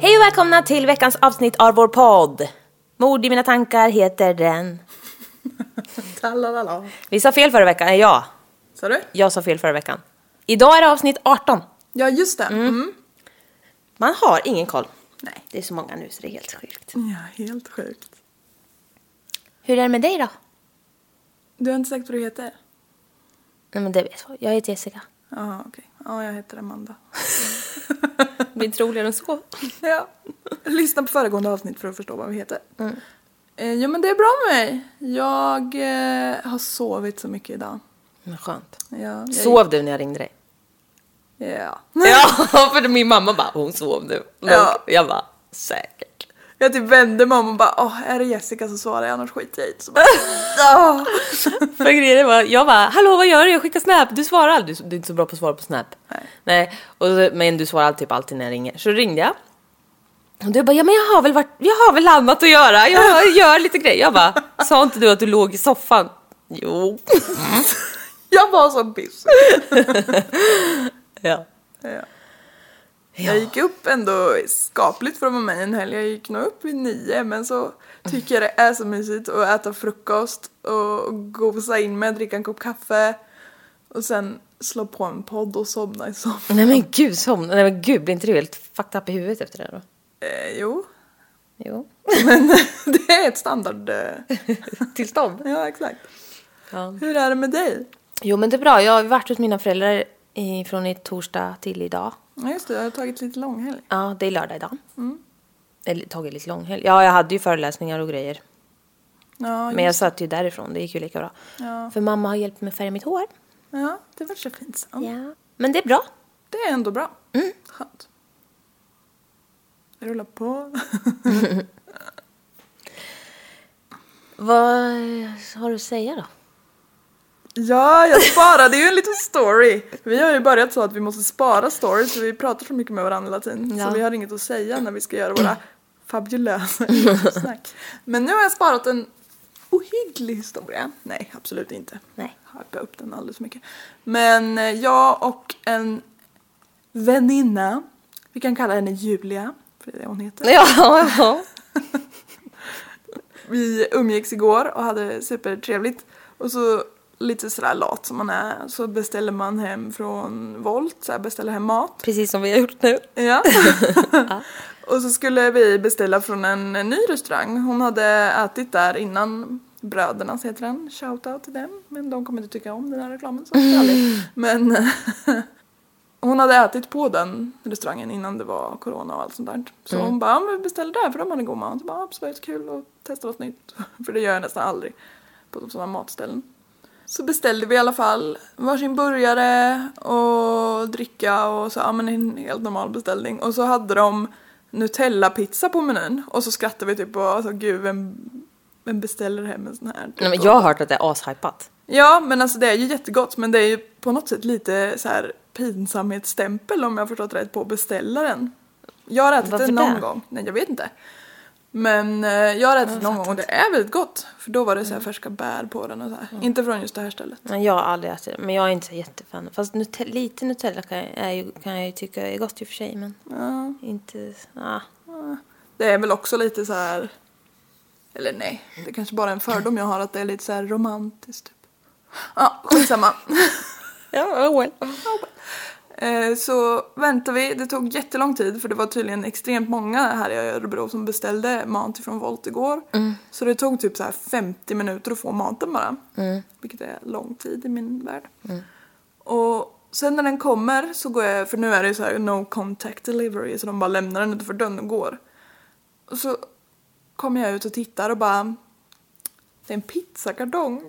Hej och välkomna till veckans avsnitt av vår podd. Mord i mina tankar heter den. Talalala. Vi sa fel förra veckan, eh, ja, Sa du? jag sa fel förra veckan. Idag är det avsnitt 18. Ja, just det. Mm. Man har ingen koll. Nej. Det är så många nu så det är helt sjukt. Ja, helt sjukt. Hur är det med dig då? Du har inte sagt vad du heter? Nej men det vet jag, jag heter Jessica. Ja, okej. Ja, jag heter Amanda. Det är troligare än så. ja. Lyssna på föregående avsnitt för att förstå vad vi heter. Eh, jo, men det är bra med mig. Jag eh, har sovit så mycket idag. Men skönt. Ja, jag, Sov du när jag ringde dig? Ja. Ja, för min mamma bara, hon sov nu. Ja. Jag bara, säkert. Jag typ vände mig om och bara, åh, är det Jessica så svarar jag, annars skiter jag i det." Så bara, Ja. För grejen var, jag bara hallå vad gör du? Jag skickar snap. Du svarar aldrig. Du är inte så bra på att svara på snap. Nej. och så, men du svarar typ alltid när jag ringer. Så ringde jag. Och du bara ja men jag har väl varit, jag har väl annat att göra. Jag gör lite grejer. Jag bara sa inte du att du låg i soffan? Jo. jag var så busy. Ja. Ja. Jag gick upp ändå skapligt för att vara med i en helg. Jag gick nog upp vid nio men så tycker jag det är så mysigt att äta frukost och gosa in med, dricka en kopp kaffe och sen slå på en podd och somna i soffan. Nej men gud somna. Nej men gud blir inte du helt fucked up i huvudet efter det då? Eh, jo, Jo. men det är ett standard... Eh, Tillstånd. ja, exakt. Ja. Hur är det med dig? Jo men det är bra. Jag har varit hos mina föräldrar i, från i torsdag till idag. Ja, just det, jag har tagit lite långhelg. Ja, det är lördag idag. Eller tagit lite långhelg. Ja, jag hade ju föreläsningar och grejer. Ja, Men jag just, satt ju därifrån, det gick ju lika bra. Ja. För mamma har hjälpt mig färga mitt hår. ja, det var så pinsamt. Ja. Mm. Men det är bra. Det är ändå bra. Skönt. Rulla på. Vad har du att säga då? Ja, jag sparade ju en liten story. Vi har ju börjat så att vi måste spara stories för vi pratar så mycket med varandra hela tiden. Ja. Så vi har inget att säga när vi ska göra våra fabulösa snack. Men nu har jag sparat en ohygglig historia. Nej, absolut inte. Nej. Haka upp den alldeles för mycket. Men eh, jag och en väninna, vi kan kalla henne Julia, för det är det hon heter. Ja, ja. Vi umgicks igår och hade supertrevligt. Och så lite sådär lat som man är så beställer man hem från Volt, så här beställer hem mat. precis som vi har gjort nu. Ja. och så skulle vi beställa från en ny restaurang. Hon hade ätit där innan Brödernas heter den. Shoutout till dem. Men de kommer inte tycka om den här reklamen så ärligt. Men hon hade ätit på den restaurangen innan det var corona och allt sånt där. Så Mm. hon bara, ja, men vi beställde där för de hade god mat. Jag bara, absolut kul och testa något nytt. för det gör jag nästan aldrig på sådana matställen. Så beställde vi i alla fall varsin burgare och dricka och så, ja men en helt normal beställning. Och så hade de Nutella-pizza på menyn och så skrattade vi typ och alltså gud vem, Men beställer hem en sån här. Nej, men jag har hört att det är ashypat. Ja, men alltså det är ju jättegott men det är ju på något sätt lite så här pinsamhetsstämpel om jag har förstått rätt på beställaren. Jag har ätit Varför det någon det? gång, nej jag vet inte. Men eh, jag har ätit någon gång och det är väldigt gott. För då var det så Mm. här färska bär på den och så här. Inte från just det här stället. Men jag har aldrig ätit det. Men jag är inte så jättefan. Fast Nutella, lite Nutella kan jag, är ju, kan jag ju tycka är gott i och för sig. Men Ja. inte... Ah. Det är väl också lite så här. Eller nej, det är kanske bara är en fördom jag har att det är lite så här romantiskt. Typ. Ja, skitsamma. Ja, oh well. Eh, så väntade vi, det tog jättelång tid för det var tydligen extremt många här i Örebro som beställde mat från Volt igår. Så det tog typ så här 50 minuter att få maten bara. Vilket är lång tid i min värld. Och sen när den kommer så går jag, för nu är det ju så här no contact delivery så de bara lämnar den utanför dörren och går. Och så kommer jag ut och tittar och bara det är en pizzakartong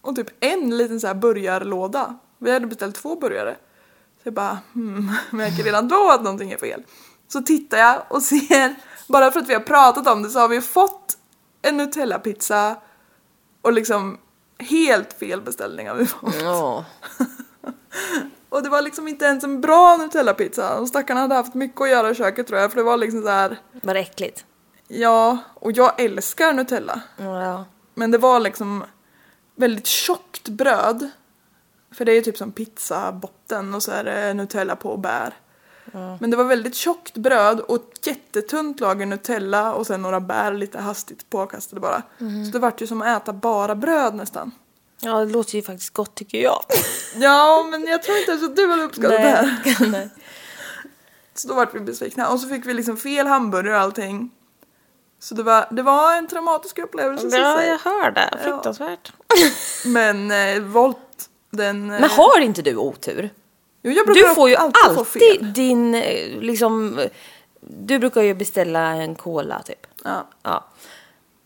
och typ en liten så här burgarlåda. Vi hade beställt två burgare. Så jag bara, hmm, märker redan då att någonting är fel. Så tittar jag och ser, bara för att vi har pratat om det så har vi fått en Nutella-pizza och liksom helt fel beställning har vi fått. Ja. Och det var liksom inte ens en bra Nutella-pizza. Och stackarna hade haft mycket att göra i köket tror jag för det var liksom så här, Var det äckligt? ja, och jag älskar Nutella. Ja. Men det var liksom väldigt tjockt bröd. För det är ju typ som pizzabotten och så är det Nutella på och bär. Men det var väldigt tjockt bröd och ett jättetunt lager Nutella och sen några bär lite hastigt påkastade bara. Så det vart ju som att äta bara bröd nästan. ja, det låter ju faktiskt gott tycker jag. Ja, men jag tror inte ens att du hade uppskattat det här. Nej. Så då vart vi besvikna och så fick vi liksom fel hamburgare och allting. Så det var, det var en traumatisk upplevelse. så att Ja, säga. jag hör det. Fruktansvärt. Men eh, Volt, den... eh, Men har inte du otur? Jo, jag brukar Du får ju alltid, få fel. din, eh, liksom, eh, du brukar ju beställa en cola typ. Ja. Ja.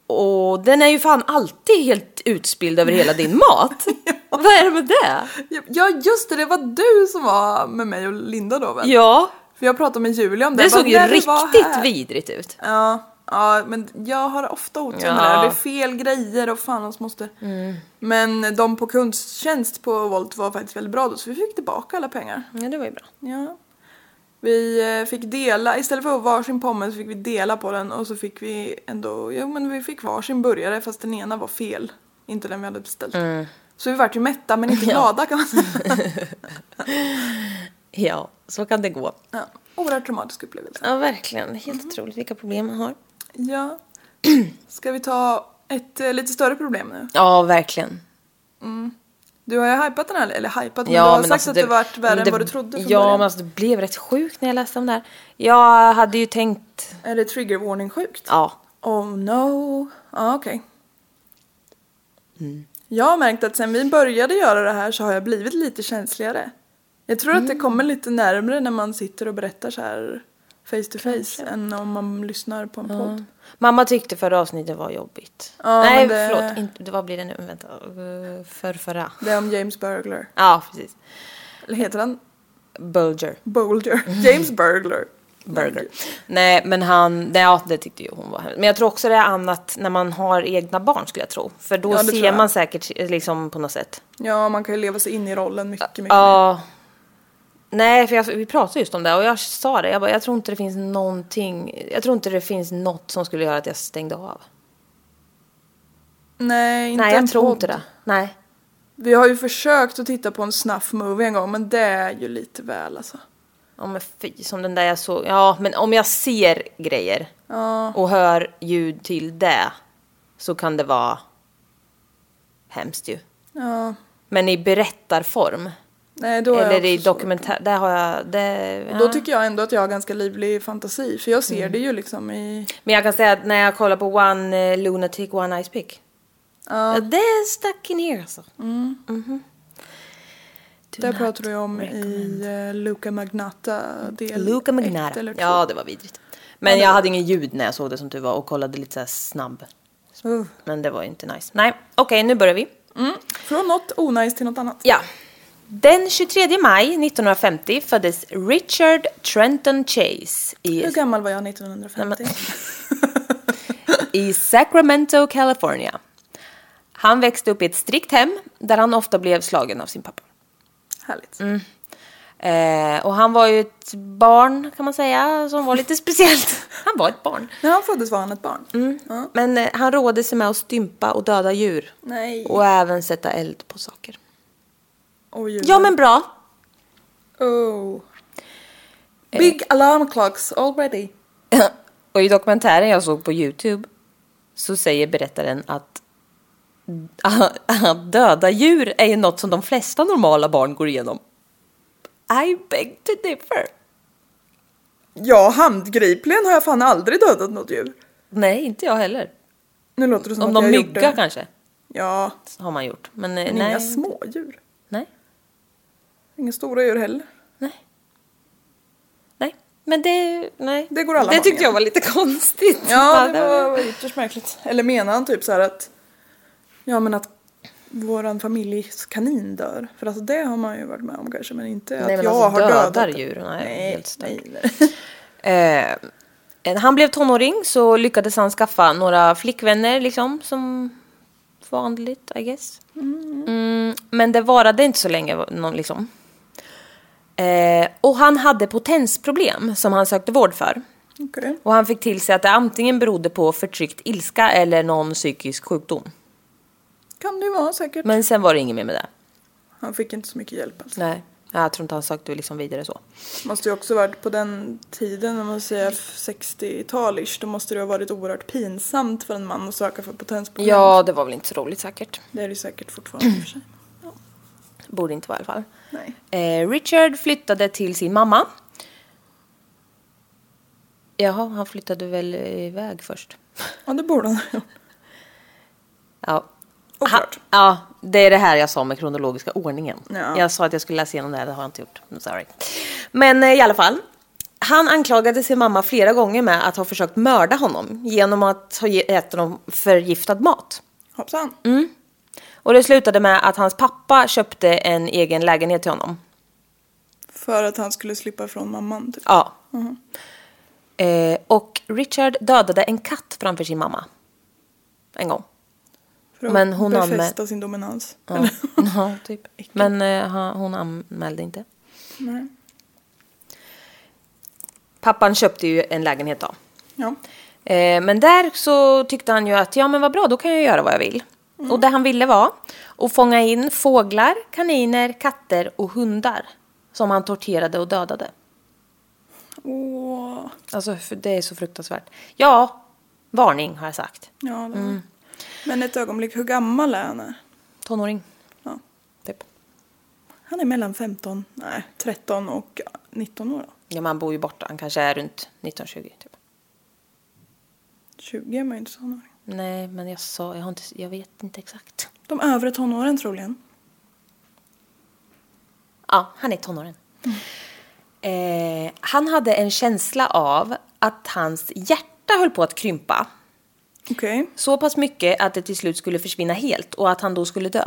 Och den är ju fan alltid helt utspilld över hela din mat. Vad är det med det? Ja just det, det var du som var med mig och Linda då väl? Ja, För jag pratade med Julia om det. det Jag bara, såg ju när vi var här- riktigt vidrigt ut. Ja, ja, men jag har ofta otur med Ja. Mm. det här. Det är fel grejer och fan alltså måste... Men de på kundtjänst på Volt var faktiskt väldigt bra då så vi fick tillbaka alla pengar. Ja, det var ju bra. Ja. Vi eh, fick dela, istället för att ha varsin pommes så fick vi dela på den och så fick vi ändå, jo men vi fick varsin burgare fast den ena var fel. Inte den vi hade beställt. Mm. Så vi vart ju mätta men inte glada kan man säga. Ja, så kan det gå. Ja, oerhört traumatisk upplevelse. Ja, verkligen. Helt otroligt vilka problem man har. Ja. Ska vi ta ett eh, lite större problem nu? Ja, verkligen. Du har ju hypat den här, eller hypat, men Ja, du har men sagt alltså att det, vart värre men än vad du trodde från Ja, början. men alltså det blev rätt sjukt när jag läste om det här. Jag hade ju tänkt, Är det trigger warning sjukt? ja, Oh no. Ja, okej. Mm. Jag har märkt att sen vi började göra det här så har jag blivit lite känsligare. Jag tror att det Mm. kommer lite närmre när man sitter och berättar så här face to face än om man lyssnar på en podd. Mamma tyckte förra avsnittet var jobbigt. Ja, men Nej, det- förlåt. Inte, det- vad blir det nu? Vänta. Eh, För förra. Det är om James Burglar. Ja, precis. Eller heter han Bulger. Boulder? Mm. James Burglar. Burger. Nej, men han... Nej, ja, det tyckte ju hon var hemskt. Men jag tror också det är annat när man har egna barn skulle jag tro. För då Ja, det tror ser jag. man säkert eh, liksom på något sätt. Ja, man kan ju leva sig in i rollen mycket, mycket mer. Ja. Nej, för jag, vi pratade just om det och jag sa det. Jag, bara, jag tror inte det finns någonting. Jag tror inte det finns något som skulle göra att jag stängde av. Nej, inte Nej, en jag tror podd. inte det. Nej. Vi har ju försökt att titta på en snuff movie en gång, men det är ju lite väl alltså. Ja men fy, som den där jag såg. Ja, men om jag ser grejer och hör ljud till det så kan det vara hemskt ju. Ja, Men i berättarform, nej då är jag eller i också så. dokumentär, där har jag... Det, Då ja. Mm. tycker jag ändå att jag har ganska livlig fantasi, för jag ser det ju liksom i... Men jag kan säga att när jag kollar på One eh, Lunatic, One Ice Pick. Ja. Det är stuck in here alltså. Mhm. Do Mm. Där not pratar du om recommend. i eh, Luca Magnata del Luca ett Magnara. eller två. Ja, det var vidrigt. Men jag hade ingen ljud när jag såg det som du var och kollade lite så här snabb. Men det var ju inte nice. Nej, okej, nu börjar vi. Från något onajs till något annat. Ja. Den 23 maj 1950 föddes Richard Trenton Chase i... Hur gammal var jag 1950? i Sacramento, California. Han växte upp i ett strikt hem där han ofta blev slagen av sin pappa. Härligt. Mm. Eh, och han var ju ett barn kan man säga som var lite speciellt. Han var ett barn. När han föddes var han ett barn. Ja. Men eh, han rådde sig med att stympa och döda djur. Nej. Och även sätta eld på saker. Och Ja men bra. Oh. Eh. Big alarm clocks already. Och i dokumentären jag såg på Youtube så säger berättaren att att döda djur är ju något som de flesta normala barn går igenom. I beg to differ. Ja, handgripligen har jag fan aldrig dödat något djur. Nej, inte jag heller. Nu låter det som Om att de jag gjort myggar det. kanske, Ja, har man gjort. Men eh, men nej. inga smådjur. Nej. Inga stora djur heller. Nej. Nej. Men det, nej. Det går alla Det barn tyckte jag igenom. var lite konstigt. Ja, det var ytterst märkligt. Eller menar han typ så här att... Ja, men att våran familjs kanin dör. För alltså det har man ju varit med om kanske, men inte Nej, att men jag alltså har dödar dödat... det. djur, nej, helt nej, stört. nej, nej. Eh, när han blev tonåring så lyckades han skaffa några flickvänner liksom som vanligt I guess. Mm, men det varade inte så länge någon, liksom. Eh, och han hade potensproblem som han sökte vård för. Okej. Och han fick till sig att det antingen berodde på förtryckt ilska eller någon psykisk sjukdom. Kan det ju vara säkert. Men sen var det inget mer med det. Han fick inte så mycket hjälp alltså. Nej, jag tror inte han sökte liksom vidare så. Måste ju också varit på den tiden, om man säger 60-talish, då måste det ha varit oerhört pinsamt för en man att söka för potensproblem. Ja, det var väl inte så roligt säkert. Det är det säkert fortfarande i och för sig. Borde inte vara i alla fall. Nej. Eh, Richard flyttade till sin mamma. Jaha, han flyttade väl iväg först. Ja, det borde han ha gjort. Ja. Oklart. Ha- Ja, det är det här jag sa med kronologiska ordningen. Ja. Jag sa att jag skulle läsa igenom det här, det har jag inte gjort. I'm sorry. Men eh, i alla fall. Han anklagade sin mamma flera gånger med att ha försökt mörda honom genom att ha ge- ätit honom förgiftad mat. Hoppsan. Mm. Och det slutade med att hans pappa köpte en egen lägenhet till honom. För att han skulle slippa från mamman typ. Ja. Eh, och Richard dödade en katt framför sin mamma. En gång. För att men hon anmä- befästa sin dominans. Ja, Eller- ja typ. Men eh, han- hon anmälde inte. Nej. Pappan köpte ju en lägenhet då. Ja. Eh, men där så tyckte han ju att ja men vad bra, då kan jag göra vad jag vill. Och det han ville var att fånga in fåglar, kaniner, katter och hundar. Som han torterade och dödade. Åh. Alltså för det är så fruktansvärt. Ja, varning har jag sagt. Ja, det var- Mm. Men ett ögonblick, hur gammal är han? här? Tonåring. Ja. Typ. Han är mellan 15, nej 13 och 19 år. då. Ja, man bor ju borta. Han kanske är runt 1920 typ. 20 är man ju inte tonåring. Nej, men jag sa, jag, har inte, jag vet inte exakt. De övre tonåren troligen. Ja, han är tonåren. Eh, han hade en känsla av att hans hjärta höll på att krympa. Okej, Så pass mycket att det till slut skulle försvinna helt och att han då skulle dö.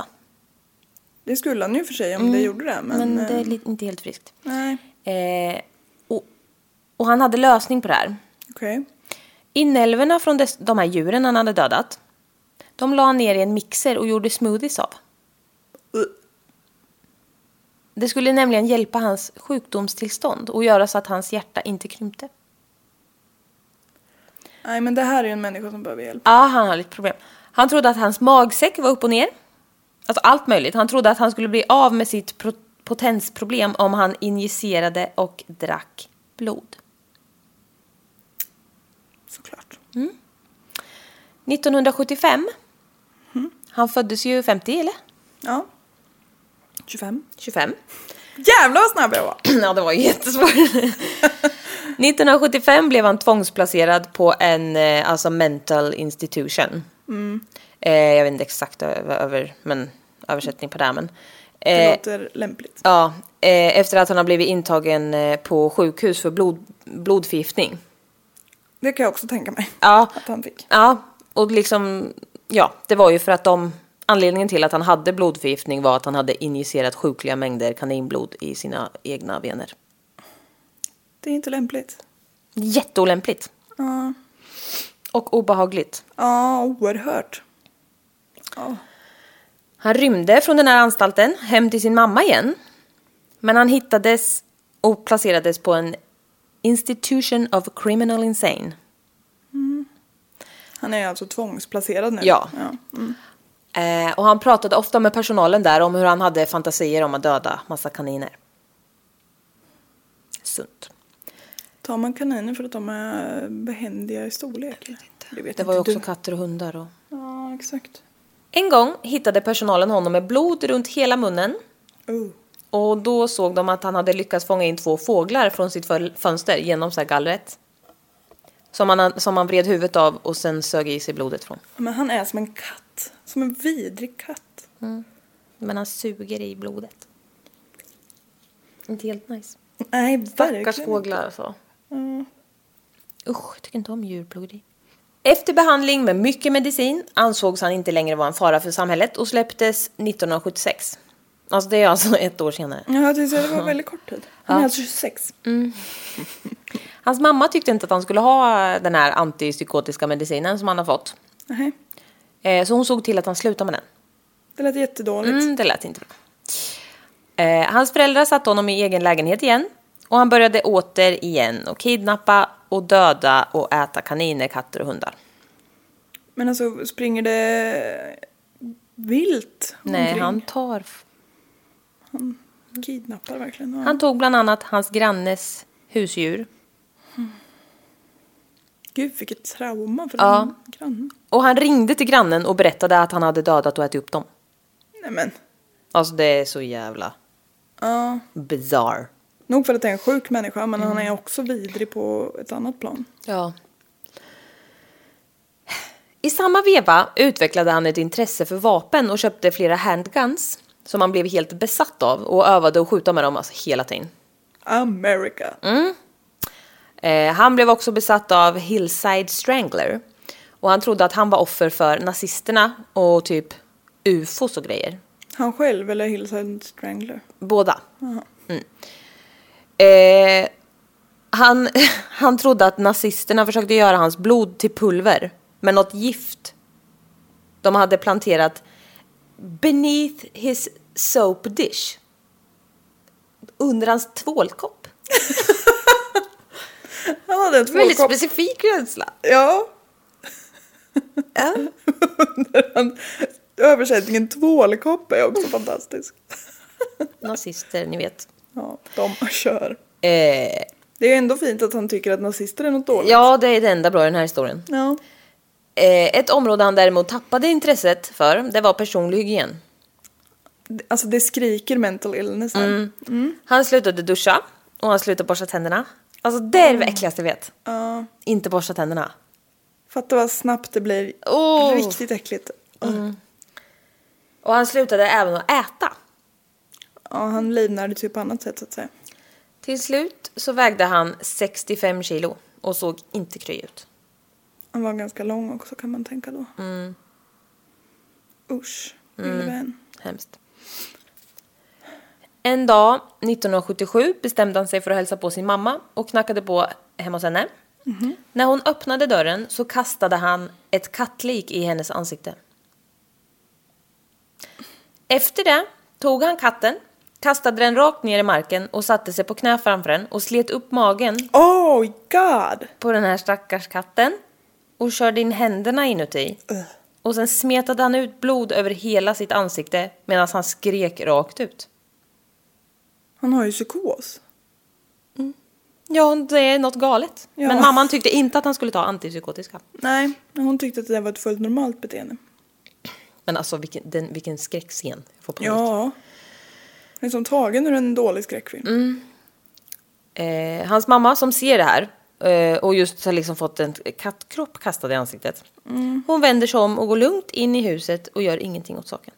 det skulle han ju för sig om det gjorde det. Men, Mm. Men det är eh, li- inte helt friskt. Nej, Eh, och, och han hade lösning på det här. okej. Inälvorna från des, de här djuren han hade dödat, de la han ner i en mixer och gjorde smoothies av. Uh. Det skulle nämligen hjälpa hans sjukdomstillstånd och göra så att hans hjärta inte krympte. Nej men det här är ju en människa som behöver hjälp. Ja, han har lite problem. Han trodde att hans magsäck var upp och ner. Alltså allt möjligt. Han trodde att han skulle bli av med sitt pro- potensproblem om han injicerade och drack blod. Såklart. 1975. Han föddes ju 50 eller? Ja. 25. 25. Jävlar vad snabb jag var! Ja, det var ju jättesvårt. 1975 blev han tvångsplacerad på en eh, alltså mental institution. Mm. Eh, jag vet inte exakt över, över, men, översättning på det här. Men, Det eh, låter lämpligt. ja, eh, efter att han har blivit intagen eh, på sjukhus för blod, blodförgiftning. Det kan jag också tänka mig. Ja. Att han fick. Ja, och liksom, ja, det var ju för att de, anledningen till att han hade blodförgiftning var att han hade injicerat sjukliga mängder kaninblod i sina egna vener. Det är inte lämpligt. Jätteolämpligt. Ja. Och obehagligt. Ja, oerhört. Ja. Han rymde från den här anstalten hem till sin mamma igen. Men han hittades och placerades på en Institution of Criminal Insane. Han är ju alltså tvångsplacerad nu. Ja. ja. Mm. Eh, och han pratade ofta med personalen där om hur han hade fantasier om att döda massa kaniner. Sunt. Tar man kaniner för att de är behändiga i storlek? Jag vet inte. Det, vet Det var ju inte också du. katter och hundar och... Ja, exakt. En gång hittade personalen honom med blod runt hela munnen. Oh. Och då såg de att han hade lyckats fånga in två fåglar från sitt föl- fönster genom så här gallret. Som han, som han vred huvudet av och sen sög i sig blodet från. Men han är som en katt. Som en vidrig katt. Men han suger i blodet. Inte helt nice. Nej, verkligen. Stackars fåglar alltså. Ja. Usch, jag tycker inte om djurplågeri. Efter behandling med mycket medicin ansågs han inte längre vara en fara för samhället och släpptes 1976. Alltså det är alltså ett år senare. Ja, jag tyckte det var väldigt kort tid. Han är alltså 26. Hans mamma tyckte inte att han skulle ha den här antipsykotiska medicinen som han har fått. Nej, Eh, Så hon såg till att han slutade med den. det lät jättedåligt. Mm, det lät inte bra. Eh, hans föräldrar satte honom i egen lägenhet igen. Och han började återigen och kidnappa och döda och äta kaniner, katter och hundar. Men alltså, springer det vilt Nej, omkring? han tar... f- kidnappar verkligen. Ja. Han tog bland annat hans grannes husdjur. Gud, vilket trauma för Ja. den grannen. Och han ringde till grannen och berättade att han hade dödat och ätit upp dem. Nej men, Alltså det är så jävla ja. bizarre. Nog för att det är en sjuk människa, men Mm. han är också vidrig på ett annat plan. Ja. I samma veva utvecklade han ett intresse för vapen och köpte flera handguns som han blev helt besatt av och övade att skjuta med dem alltså hela tiden. America. Eh, han blev också besatt av Hillside Strangler och han trodde att han var offer för nazisterna och typ ufos och grejer. Han själv eller Hillside Strangler? Båda. Mm. Eh, han, han trodde att nazisterna försökte göra hans blod till pulver med något gift de hade planterat beneath his soap dish. Under hans tvålkopp. Han hade en Väldigt tvåkopp. specifik rädsla. Ja. Ja. Han, översättningen tvålkopp är också fantastisk. Nazister, ni vet. Ja, de kör. Eh, Det är ju ändå fint att han tycker att nazister är något dåligt. ja, det är det enda bra i den här historien. Ja. Eh, ett område han däremot tappade intresset för, det var personlig hygien. Alltså det skriker mental illness här. Mm. Han slutade duscha och han slutade borsta tänderna. Alltså det är det äckligaste jag vet. Ja. Inte borsta tänderna. Fatta vad snabbt det blir. Åh. Mm. Riktigt äckligt. Och han slutade även att äta. Ja, han livnärde sig på annat sätt så att säga. Till slut så vägde han 65 kilo och såg inte kry ut. Han var ganska lång också kan man tänka då. Usch, lille vän. Hemskt. En dag 1977 bestämde han sig för att hälsa på sin mamma och knackade på hemma hos henne. När hon öppnade dörren så kastade han ett kattlik i hennes ansikte. Efter det tog han katten, kastade den rakt ner i marken och satte sig på knä framför den och slet upp magen Oh god! på den här stackars katten och körde in händerna inuti. Och sen smetade han ut blod över hela sitt ansikte medan han skrek rakt ut. Han har ju psykos. Ja, det är något galet. Ja. Men mamman tyckte inte att han skulle ta antipsykotiska. Nej, men hon tyckte att det där var ett fullt normalt beteende. Men alltså vilken, den, vilken skräckscen. Jag får panik. Ja. Det är som tagen ur en dålig skräckfilm. Eh, hans mamma som ser det här eh, och just har liksom fått en kattkropp kastad i ansiktet. Hon vänder sig om och går lugnt in i huset och gör ingenting åt saken.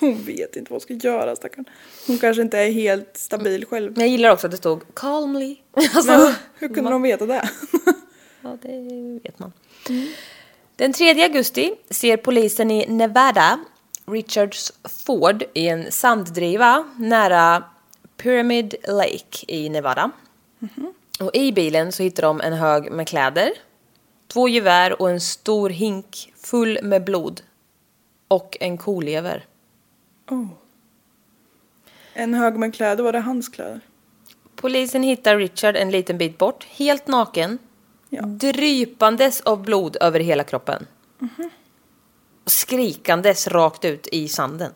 Hon vet inte vad hon ska göra stackarn. Hon kanske inte är helt stabil själv. Men jag gillar också att det stod calmly. Alltså, Men hur kunde de veta det? Ja, det vet man. Den 3 augusti ser polisen i Nevada Richards Ford i en sanddriva nära Pyramid Lake i Nevada. Och i bilen så hittar de en hög med kläder, två gevär och en stor hink full med blod. Och en kolever. Oh. En hög med kläder, var det hans kläder? Polisen hittar Richard en liten bit bort, helt naken. Ja. Drypandes av blod över hela kroppen. Mhm. Och Skrikandes rakt ut i sanden.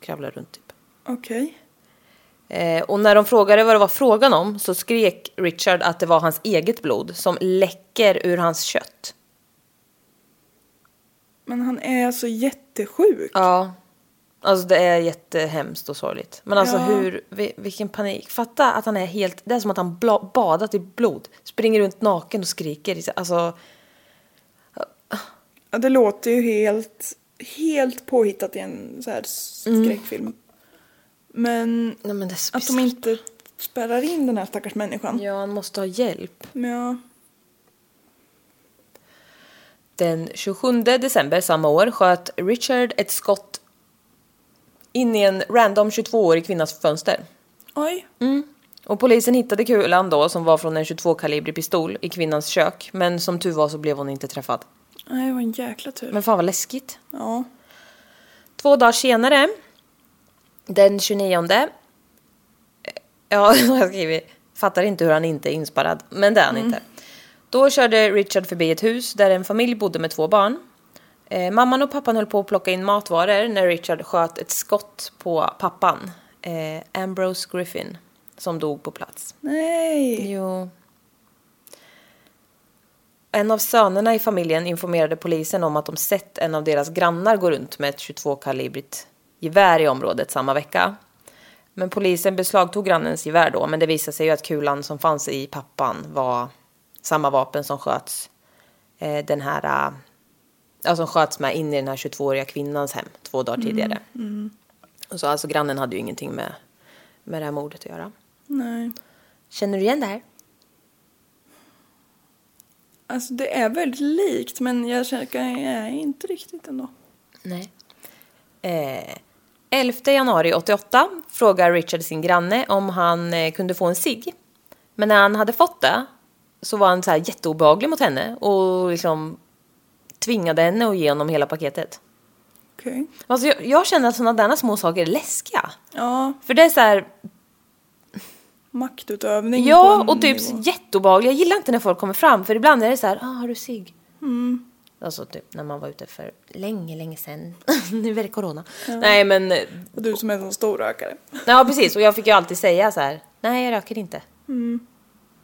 Kravlar runt typ. Okej. Eh, och när de frågade vad det var frågan om så skrek Richard att det var hans eget blod som läcker ur hans kött. Men han är alltså jättesjuk. Ja. Alltså det är jättehemskt och sorgligt. Men alltså Ja. hur, vi- vilken panik. Fatta att han är helt, det är som att han bla, badat i blod. Springer runt naken och skriker. i sig. Alltså, Ja, det låter ju helt, helt påhittat i en så här Mm. skräckfilm. Men nej men det är så att de bisarrt. inte spärrar in den här stackars människan. Ja, han måste ha hjälp. Men ja. Den 27 december samma år sköt Richard ett skott in i en random 22-årig kvinnas fönster. Oj. Mm. Och polisen hittade kulan då som var från en 22-kalibrig pistol i kvinnans kök. Men som tur var så blev hon inte träffad. Nej, det var en jäkla tur. Men fan vad läskigt. Ja. Två dagar senare, den 29. eh, Ja, jag har skrivit. Fattar inte hur han inte är inspärrad, men det är han inte. Då körde Richard förbi ett hus där en familj bodde med två barn. Eh, mamman och pappan höll på att plocka in matvaror när Richard sköt ett skott på pappan, eh, Ambrose Griffin, som dog på plats. Nej. Jo. En av sönerna i familjen informerade polisen om att de sett en av deras grannar gå runt med ett 22-kalibrigt gevär i området samma vecka. Men polisen beslagtog grannens gevär då, men det visade sig ju att kulan som fanns i pappan var samma vapen som sköts eh, den här, eh, ja, som sköts med in i den här 22-åriga kvinnans hem två dagar tidigare. Och så alltså grannen hade ju ingenting med, med det här mordet att göra. Nej. Känner du igen det här? Alltså det är väldigt likt men jag känner jag är inte riktigt ändå. Nej. Eh, 11 januari 88 frågar Richard sin granne om han eh, kunde få en cigg. Men när han hade fått det så var han så här jätteobehaglig mot henne och liksom tvingade henne att ge honom hela paketet. Okej. Alltså jag, jag känner att sådana där små saker är läskiga. Ja, För det är så här, maktutövning Mm, på ja en och typ nivå. jätteobehaglig. Jag gillar inte när folk kommer fram för ibland är det så här, ah, har du cigg? Mm. Alltså typ när man var ute för länge, länge sedan. nu är det corona. Nej men Och du som är en sån storrökare. Ja precis och jag fick ju alltid säga så här. nej jag röker inte. Mm.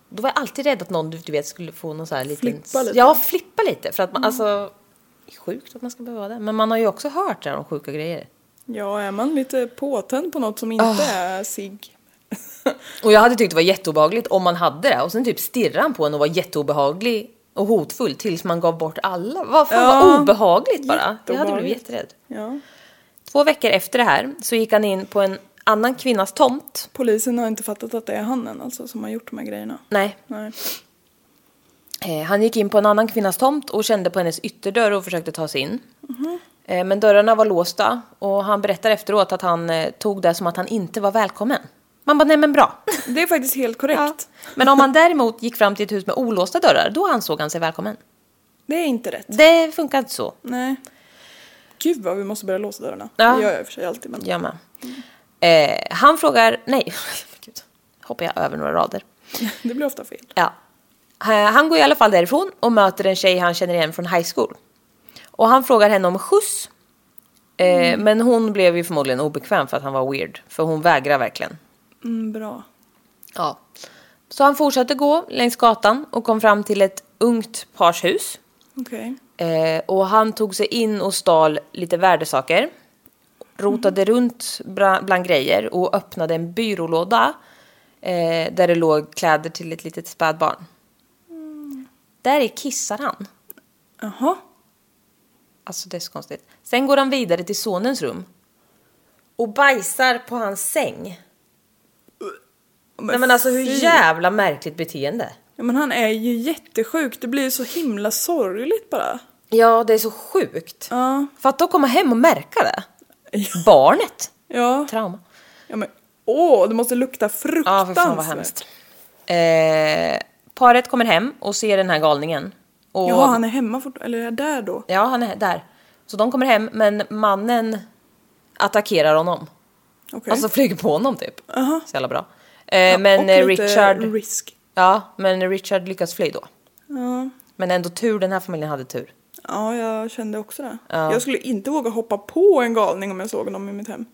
Då var jag alltid rädd att någon du du vet skulle få någon så här liten... Flippa lite. Mm. Ja, flippa lite. För att man alltså... Sjukt att man ska behöva vara det. Men man har ju också hört det här om sjuka grejer. Ja, är man lite påtänd på något Ah. som inte är sig. Och jag hade tyckt det var jätteobehagligt om man hade det. Och sen typ stirrade han på en och var jätteobehaglig och hotfull tills man gav bort alla. Vad fan Ja. vad obehagligt bara. Jag hade blivit Jätteobehagligt. jätterädd. Ja. Två veckor efter det här så gick han in på en annan kvinnas tomt. Polisen har inte fattat att det är han än alltså som har gjort de här grejerna. Nej, Nej. Eh, Han gick in på en annan kvinnas tomt och kände på hennes ytterdörr och försökte ta sig in. Eh, Men dörrarna var låsta och han berättar efteråt att han eh, tog det som att han inte var välkommen. Man bara, nej men bra. Det är faktiskt helt Ja. korrekt. Men om han däremot gick fram till ett hus med olåsta dörrar, då ansåg han sig välkommen. Det är inte rätt. Det funkar inte så. Nej. Gud vad vi måste börja låsa dörrarna. Ja. Det gör jag i och för sig alltid men. Jag med. Eh, han frågar, nej, Gud, hoppar jag över några rader. Det blir ofta fel. Ja. Eh, Han går i alla fall därifrån och möter en tjej han känner igen från high school. Och han frågar henne om skjuts. Eh, Men hon blev ju förmodligen obekväm för att han var weird. För hon vägrar verkligen. Mm, bra. Ja. Så han fortsatte gå längs gatan och kom fram till ett ungt pars hus. Okej. Eh, och han tog sig in och stal lite värdesaker. Rotade runt bra, bland grejer och öppnade en byrålåda. Eh, där det låg kläder till ett litet spädbarn. Mm. Där i kissar han. Jaha. Alltså det är så konstigt. Sen går han vidare till sonens rum. Och bajsar på hans säng. Nej men alltså hur fy. jävla märkligt beteende. Ja, men han är ju jättesjuk. Det blir ju så himla sorgligt bara. Ja det är så sjukt. Ja. Fatta att komma hem och märka det. Ja. Barnet. Ja. Trauma. ja men, åh, det måste lukta fruktansvärt. Ja, för fan vad hemskt. Eh, paret kommer hem och ser den här galningen. Och, Jaha, han är hemma fort, eller är där då? Ja, han är där. Så de kommer hem, men mannen attackerar honom. Okej. Alltså flyger på honom typ. Så jävla bra. Eh, Ja, men och eh, lite Richard... risk. Ja, men Richard lyckas fly då. Ja. Men ändå tur, den här familjen hade tur. ja, jag kände också det. Jag skulle inte våga hoppa på en galning om jag såg dem i mitt hem.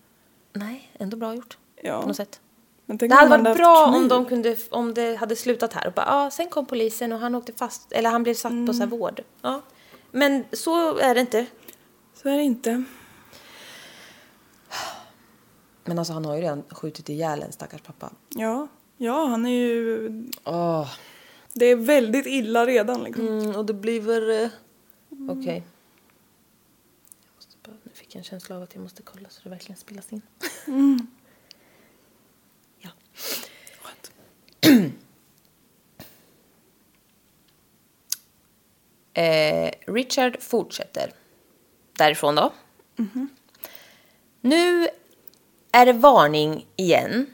Nej, ändå bra gjort. Ja. På något sätt. Men tänk Det om hade han varit haft bra om, kniv. de kunde, om det hade slutat här och bara, ja, sen kom polisen och han åkte fast, eller han blev satt på så här Mm. vård. Ja. Men så är det inte. Så är det inte. Men alltså han har ju redan skjutit ihjäl en stackars pappa. Ja. ja, han är ju... Åh. Det är väldigt illa redan liksom. Mm, och det blir väl... eh, Okej. Jag måste bara- Nu fick jag en känsla av att jag måste kolla så det verkligen spelas in. ja. Skönt. Eh, Richard fortsätter. Därifrån då. Nu är det varning igen.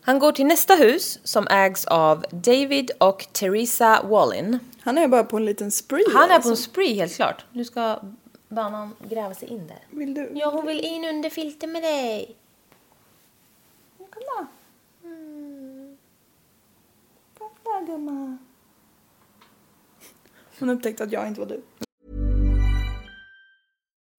Han går till nästa hus som ägs av David och Teresa Wallin. Han är bara på en liten spree. Han är på alltså. en spree helt klart. Nu ska banan gräva sig in där. Vill du? Ja, hon vill in under filter med dig. Kolla! Kolla gumman. Hon upptäckte att jag inte var du.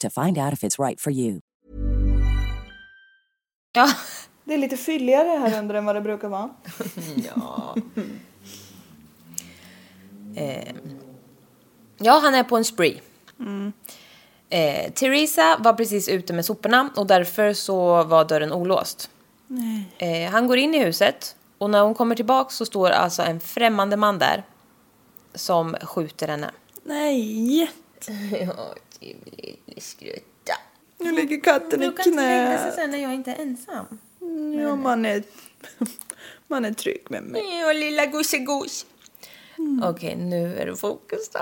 to find out if it's right for you. Ja. Det är lite fylligare här under än vad det brukar vara. Eh, ja, han är på en spree. Mm. Eh, Teresa var precis ute med soporna och därför så var dörren olåst. Eh, han går in i huset och när hon kommer tillbaka så står alltså en främmande man där som skjuter henne. Nej! Ja, du vill skrutta. Nu ligger katten i Du kan inte lägga sig knät. sen när jag inte är ensam. Ja, man är... Man är trygg med mig. Ja, lilla gosegos. Okej, nu är du fokus då.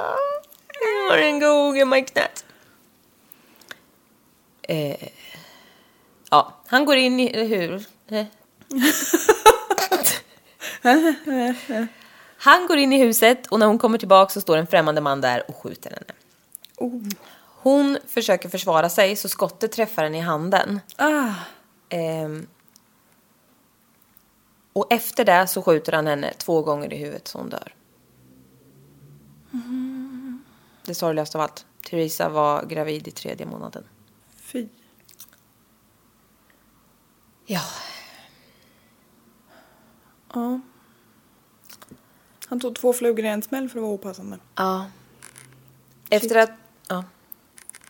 Jag har en god i knät. Eh, ja, han går in i... Hur? Eh. han går in i huset och när hon kommer tillbaka så står en främmande man där och skjuter henne. Oh. Hon försöker försvara sig så skottet träffar henne i handen. Ah. Ehm. och efter det så skjuter han henne två gånger i huvudet så hon dör. Det sorgligaste av allt. Theresa var gravid i tredje månaden. Fy. Ja. Ja. Han tog två flugor i en smäll för att vara opassande. ja. Efter att... Ja.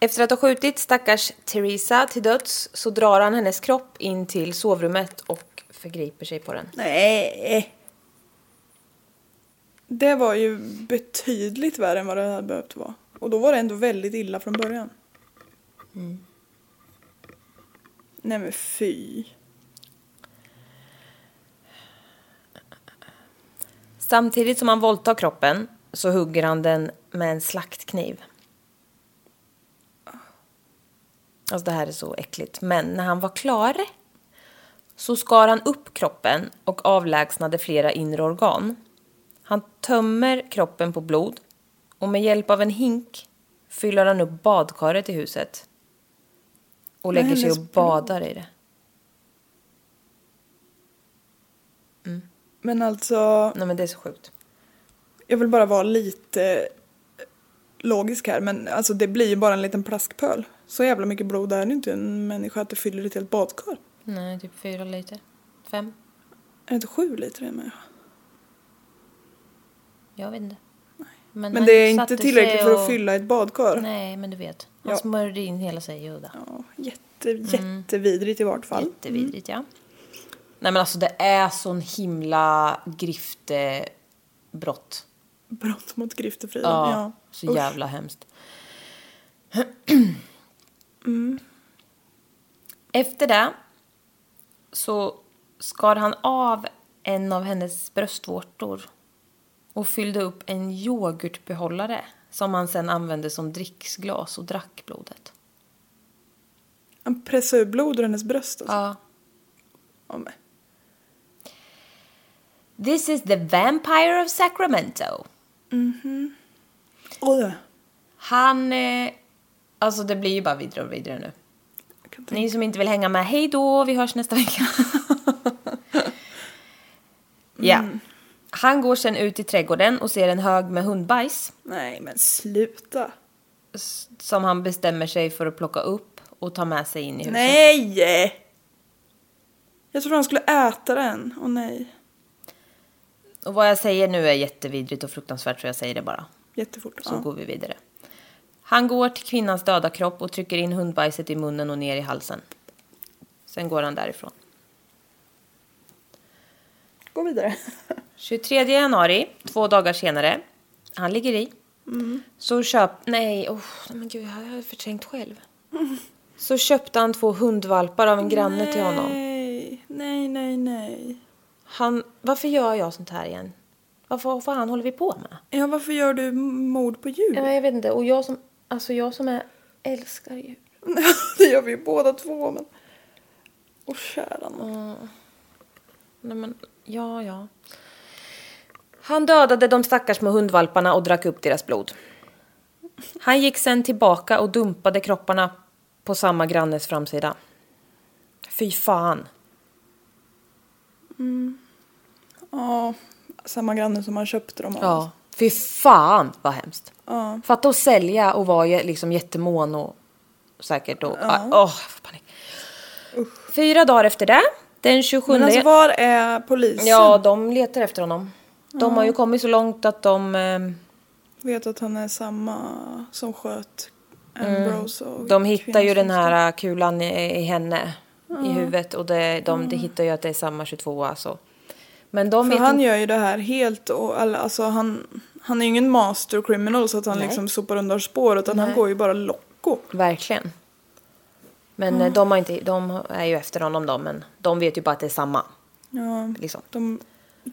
Efter att ha skjutit stackars Theresa till döds så drar han hennes kropp in till sovrummet och förgriper sig på den. Nej! Det var ju betydligt värre än vad det hade behövt vara. Och då var det ändå väldigt illa från början. Mm. Nej men fy. Samtidigt som han våldtar kroppen så hugger han den med en slaktkniv. Alltså det här är så äckligt. Men när han var klar så skar han upp kroppen och avlägsnade flera inre organ. Han tömmer kroppen på blod och med hjälp av en hink fyller han upp badkaret i huset. Och lägger sig och hennes blod. badar i det. Men alltså, Nej men det är så sjukt. jag vill bara vara lite eh, logisk här men alltså det blir ju bara en liten plaskpöl. Så jävla mycket blod är det inte i en människa att det fyller ett helt badkar. Nej, typ fyra liter. Fem? Är det inte sju liter det med? Jag vet inte. Men, han det är satte inte sig tillräckligt för och- att fylla ett badkar. Nej, men du vet. Han Ja. smörjde in hela sig i udda. Ja, jätte, Mm. jättevidrigt i vart fall. Mm. Jättevidrigt, ja. Nej, men alltså det är sån himla griftebrott. Brott mot griftefriden. Ja, Ja. så Usch. jävla hemskt. Mm. Efter det så skar han av en av hennes bröstvårtor och fyllde upp en yoghurtbehållare som han sen använde som dricksglas och drack blodet. Han pressade ur blod ur hennes bröst. Alltså. Ja. Ja, men. This is the vampire of Sacramento. Åh, det. Han... Eh, alltså det blir ju bara vidare och vidare nu. Jag kan tänka- Ni som inte vill hänga med, hej då, vi hörs nästa vecka. Ja. Mm. Han går sen ut i trädgården och ser en hög med hundbajs Nej men sluta. s- som han bestämmer sig för att plocka upp och ta med sig in i huset. Nej! Jag trodde han skulle äta den. Åh nej. Och vad jag säger nu är jättevidrigt och fruktansvärt så jag säger det bara. Jättefort. Så ja. går vi vidare. Han går till kvinnans döda kropp och trycker in hundbajset i munnen och ner i halsen. Sen går han därifrån. Gå vidare. 23 januari, två dagar senare. Han ligger i. Så köp... Nej, oh, men gud, jag har förträngt själv. Så köpte han två hundvalpar av en granne till honom. Nej, nej, nej, nej. Han, varför gör jag sånt här igen? Varför, vad fan håller vi på med? Ja, varför gör du mord på djur? Ja, jag vet inte. Och jag som, alltså jag som är, älskar djur. det gör vi ju båda två men... Åh kära nån. Mm. Nej, men, ja, ja. Han dödade de stackars små hundvalparna och drack upp deras blod. Han gick sen tillbaka och dumpade kropparna på samma grannes framsida. Fy fan. Ja, samma granne som han köpte dem av. Ja. Fy fan vad hemskt. Ja. Fatta att sälja och vara ju liksom jättemån och säkert och... Ja. Åh, jag får panik. Fyra dagar efter det, den 27... Men alltså var är polisen? Ja, de letar efter honom. De har ju kommit så långt att de... ehm, Vet att han är samma som sköt Ambrose och Mm. De hittar ju kvinnan som den här äh, kulan i, i henne, i huvudet. Och det, de, de hittar ju att det är samma 22 alltså. Men de För vet han inte... gör ju det här helt och all- alltså han, han är ju ingen master criminal så att han Nej. liksom sopar undan spår utan han går ju bara locko. Verkligen. Men eh, de, har inte, de är ju efter honom då, men de vet ju bara att det är samma. Ja, Liksom. de,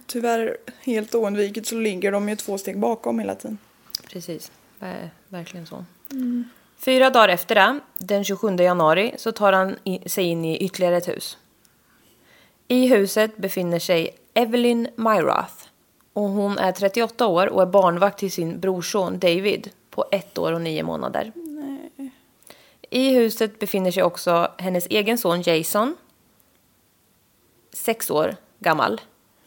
tyvärr helt oundvikligt så ligger de ju två steg bakom hela tiden. Precis, Ver- verkligen så. Mm. Fyra dagar efter det, den 27 januari, så tar han i, sig in i ytterligare ett hus. I huset befinner sig Evelyn Myrath. Och hon är 38 år och är barnvakt till sin brorson David på ett år och nio månader. I huset befinner sig också hennes egen son Jason, sex år gammal,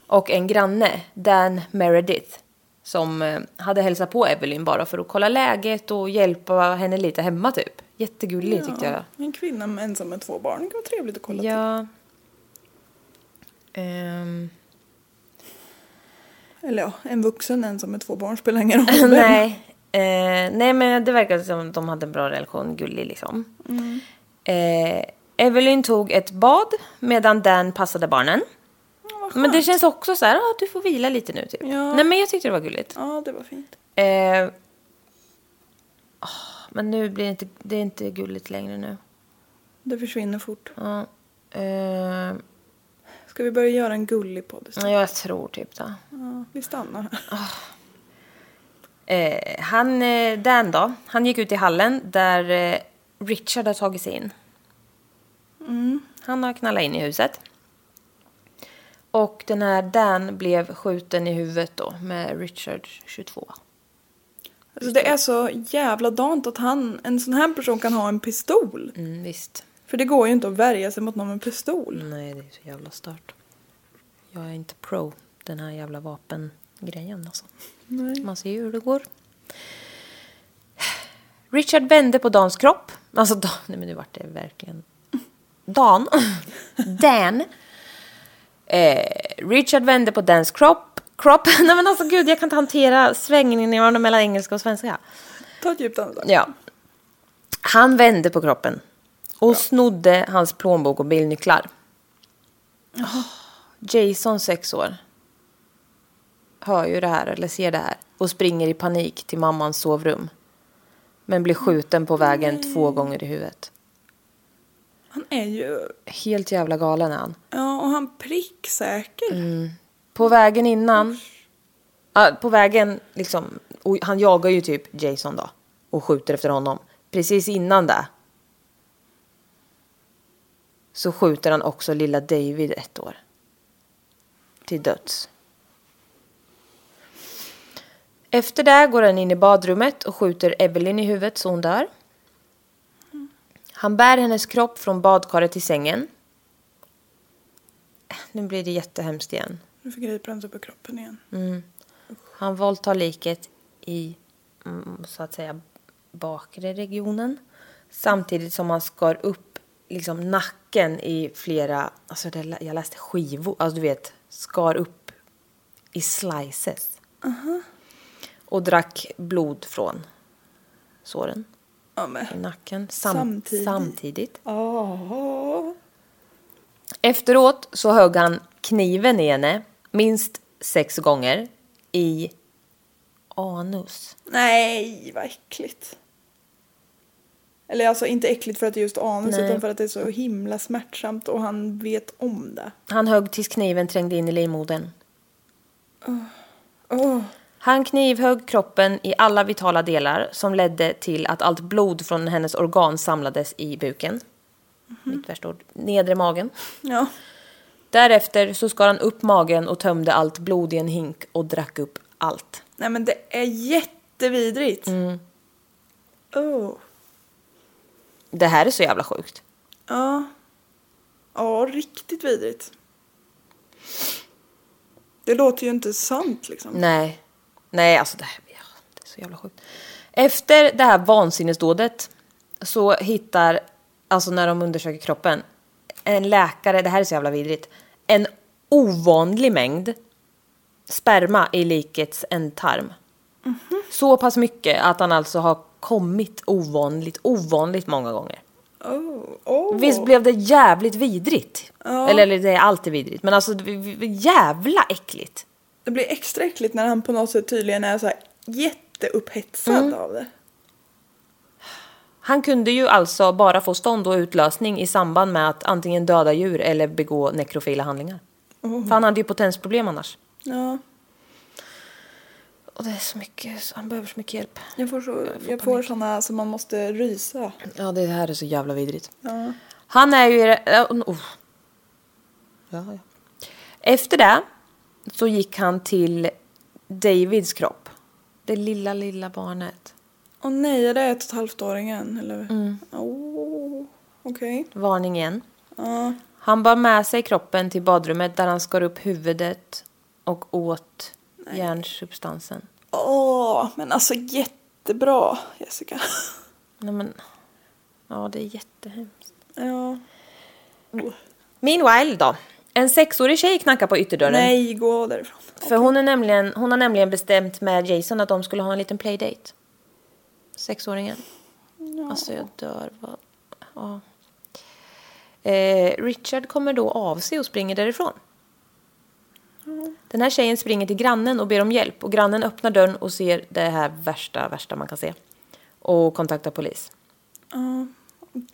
och en granne, Dan Meredith, som eh, hade hälsat på Evelyn bara för att kolla läget och hjälpa henne lite hemma typ. Jättegullig tyckte jag. En kvinna med ensam med två barn, det kan vara trevligt att kolla Ja. Ehm, till. Eller ja, en vuxen ensam med två barn spelar ingen roll. vem. nej. Eh, nej, men det verkar som de hade en bra relation, gullig liksom. Eh, Evelyn tog ett bad medan Dan passade barnen. men det känns också så här, ah, du får vila lite nu typ. Ja. Nej men jag tyckte det var gulligt. Ja, det var fint. Eh, ah, men nu blir det inte, det är inte gulligt längre nu. Det försvinner fort. Ja, eh, Ska vi börja göra en gullig podd? istället? Ja, jag tror typ det. Ja, vi stannar här. Eh, han, eh, Dan då, han gick ut i hallen där eh, Richard har tagit sig in. Han har knallat in i huset. Och den här Dan blev skjuten i huvudet då med Richard 22. Alltså, det är så jävla dant att han, en sån här person kan ha en pistol. Mm, visst. För det går ju inte att värja sig mot någon med en pistol. Nej, det är så jävla stört. Jag är inte pro den här jävla vapengrejen alltså. Man ser ju hur det går. Richard vände på Dans kropp. Alltså, Dan, nej men nu vart det verkligen... Dan. Dan. Eh, Richard vände på Dans kropp. Kropp. Nej men alltså gud, jag kan inte hantera svängningarna mellan engelska och svenska. Ta ett djupt andetag. Ja. Han vände på kroppen och snodde hans plånbok och bilnycklar. Jason, sex år, hör ju det här eller ser det här och springer i panik till mammans sovrum. Men blir skjuten på vägen två gånger i huvudet. Han är ju, Helt jävla galen är han. ja och han pricksäker. Mm. På vägen innan, ja, på vägen liksom, och han jagar ju typ Jason då och skjuter efter honom. Precis innan det så skjuter han också lilla David ett år till döds. Efter det går han in i badrummet och skjuter Evelyn i huvudet så hon dör. Han bär hennes kropp från badkaret till sängen. Nu blir det jättehemskt igen. Nu förgriper han sig på kroppen igen. Mm. Han våldtar liket i, mm, så att säga, bakre regionen. Samtidigt som han skar upp liksom, nacken i flera, alltså det, jag läste skivor, alltså du vet, skar upp i slices. Och drack blod från såren Ja, men. i nacken. Sam- Samtidigt. samtidigt. Åh. Efteråt så högg han kniven i henne minst sex gånger i anus. Nej, vad äckligt. Eller alltså inte äckligt för att det är just anus Nej. utan för att det är så himla smärtsamt och han vet om det. Han högg tills kniven trängde in i livmodern. Åh. Han knivhögg kroppen i alla vitala delar som ledde till att allt blod från hennes organ samlades i buken. Mhm. Mitt värsta ord. Nedre magen. Ja. Därefter så skar han upp magen och tömde allt blod i en hink och drack upp allt. Nej men det är jättevidrigt. Mm. Oh. Det här är så jävla sjukt. Ja. Ja, riktigt vidrigt. Det låter ju inte sant liksom. Nej. Nej, alltså det här ja, det är så jävla sjukt. Efter det här vansinnesdådet så hittar, alltså när de undersöker kroppen, en läkare, det här är så jävla vidrigt, en ovanlig mängd sperma i likets ändtarm. Så pass mycket att han alltså har kommit ovanligt, ovanligt många gånger. Oh. Oh. Visst blev det jävligt vidrigt? Eller, eller det är alltid vidrigt, men alltså det- det- det- jävla äckligt. Det blir extra äckligt när han på något sätt tydligen är så här jätteupphetsad av det. Han kunde ju alltså bara få stånd och utlösning i samband med att antingen döda djur eller begå nekrofila handlingar. För han hade ju potensproblem annars. Ja. Och det är så mycket, så han behöver så mycket hjälp. Jag får, så, jag får såna som man måste rysa. Ja, det här är så jävla vidrigt. Han är ju... i det- ja, oh. Ja, ja. Efter det så gick han till Davids kropp. Det lilla, lilla barnet. Åh nej, är det ett och ett halvt-åringen? Eller? Mm. Oh, Okej. Varning igen. Ja. Han bar med sig kroppen till badrummet där han skar upp huvudet och åt järnsubstansen. Åh, men alltså jättebra Jessica. Nej men... Ja, det är jättehemskt. Ja. Meanwhile då. En sexårig tjej knackar på ytterdörren. Nej, gå därifrån. För hon, är nämligen, hon har nämligen bestämt med Jason att de skulle ha en liten playdate. Sexåringen. Alltså jag dör. Vad... Ja. Eh, Richard kommer då av sig och springer därifrån. Den här tjejen springer till grannen och ber om hjälp. Och grannen öppnar dörren och ser det här värsta, värsta man kan se. Och kontaktar polis.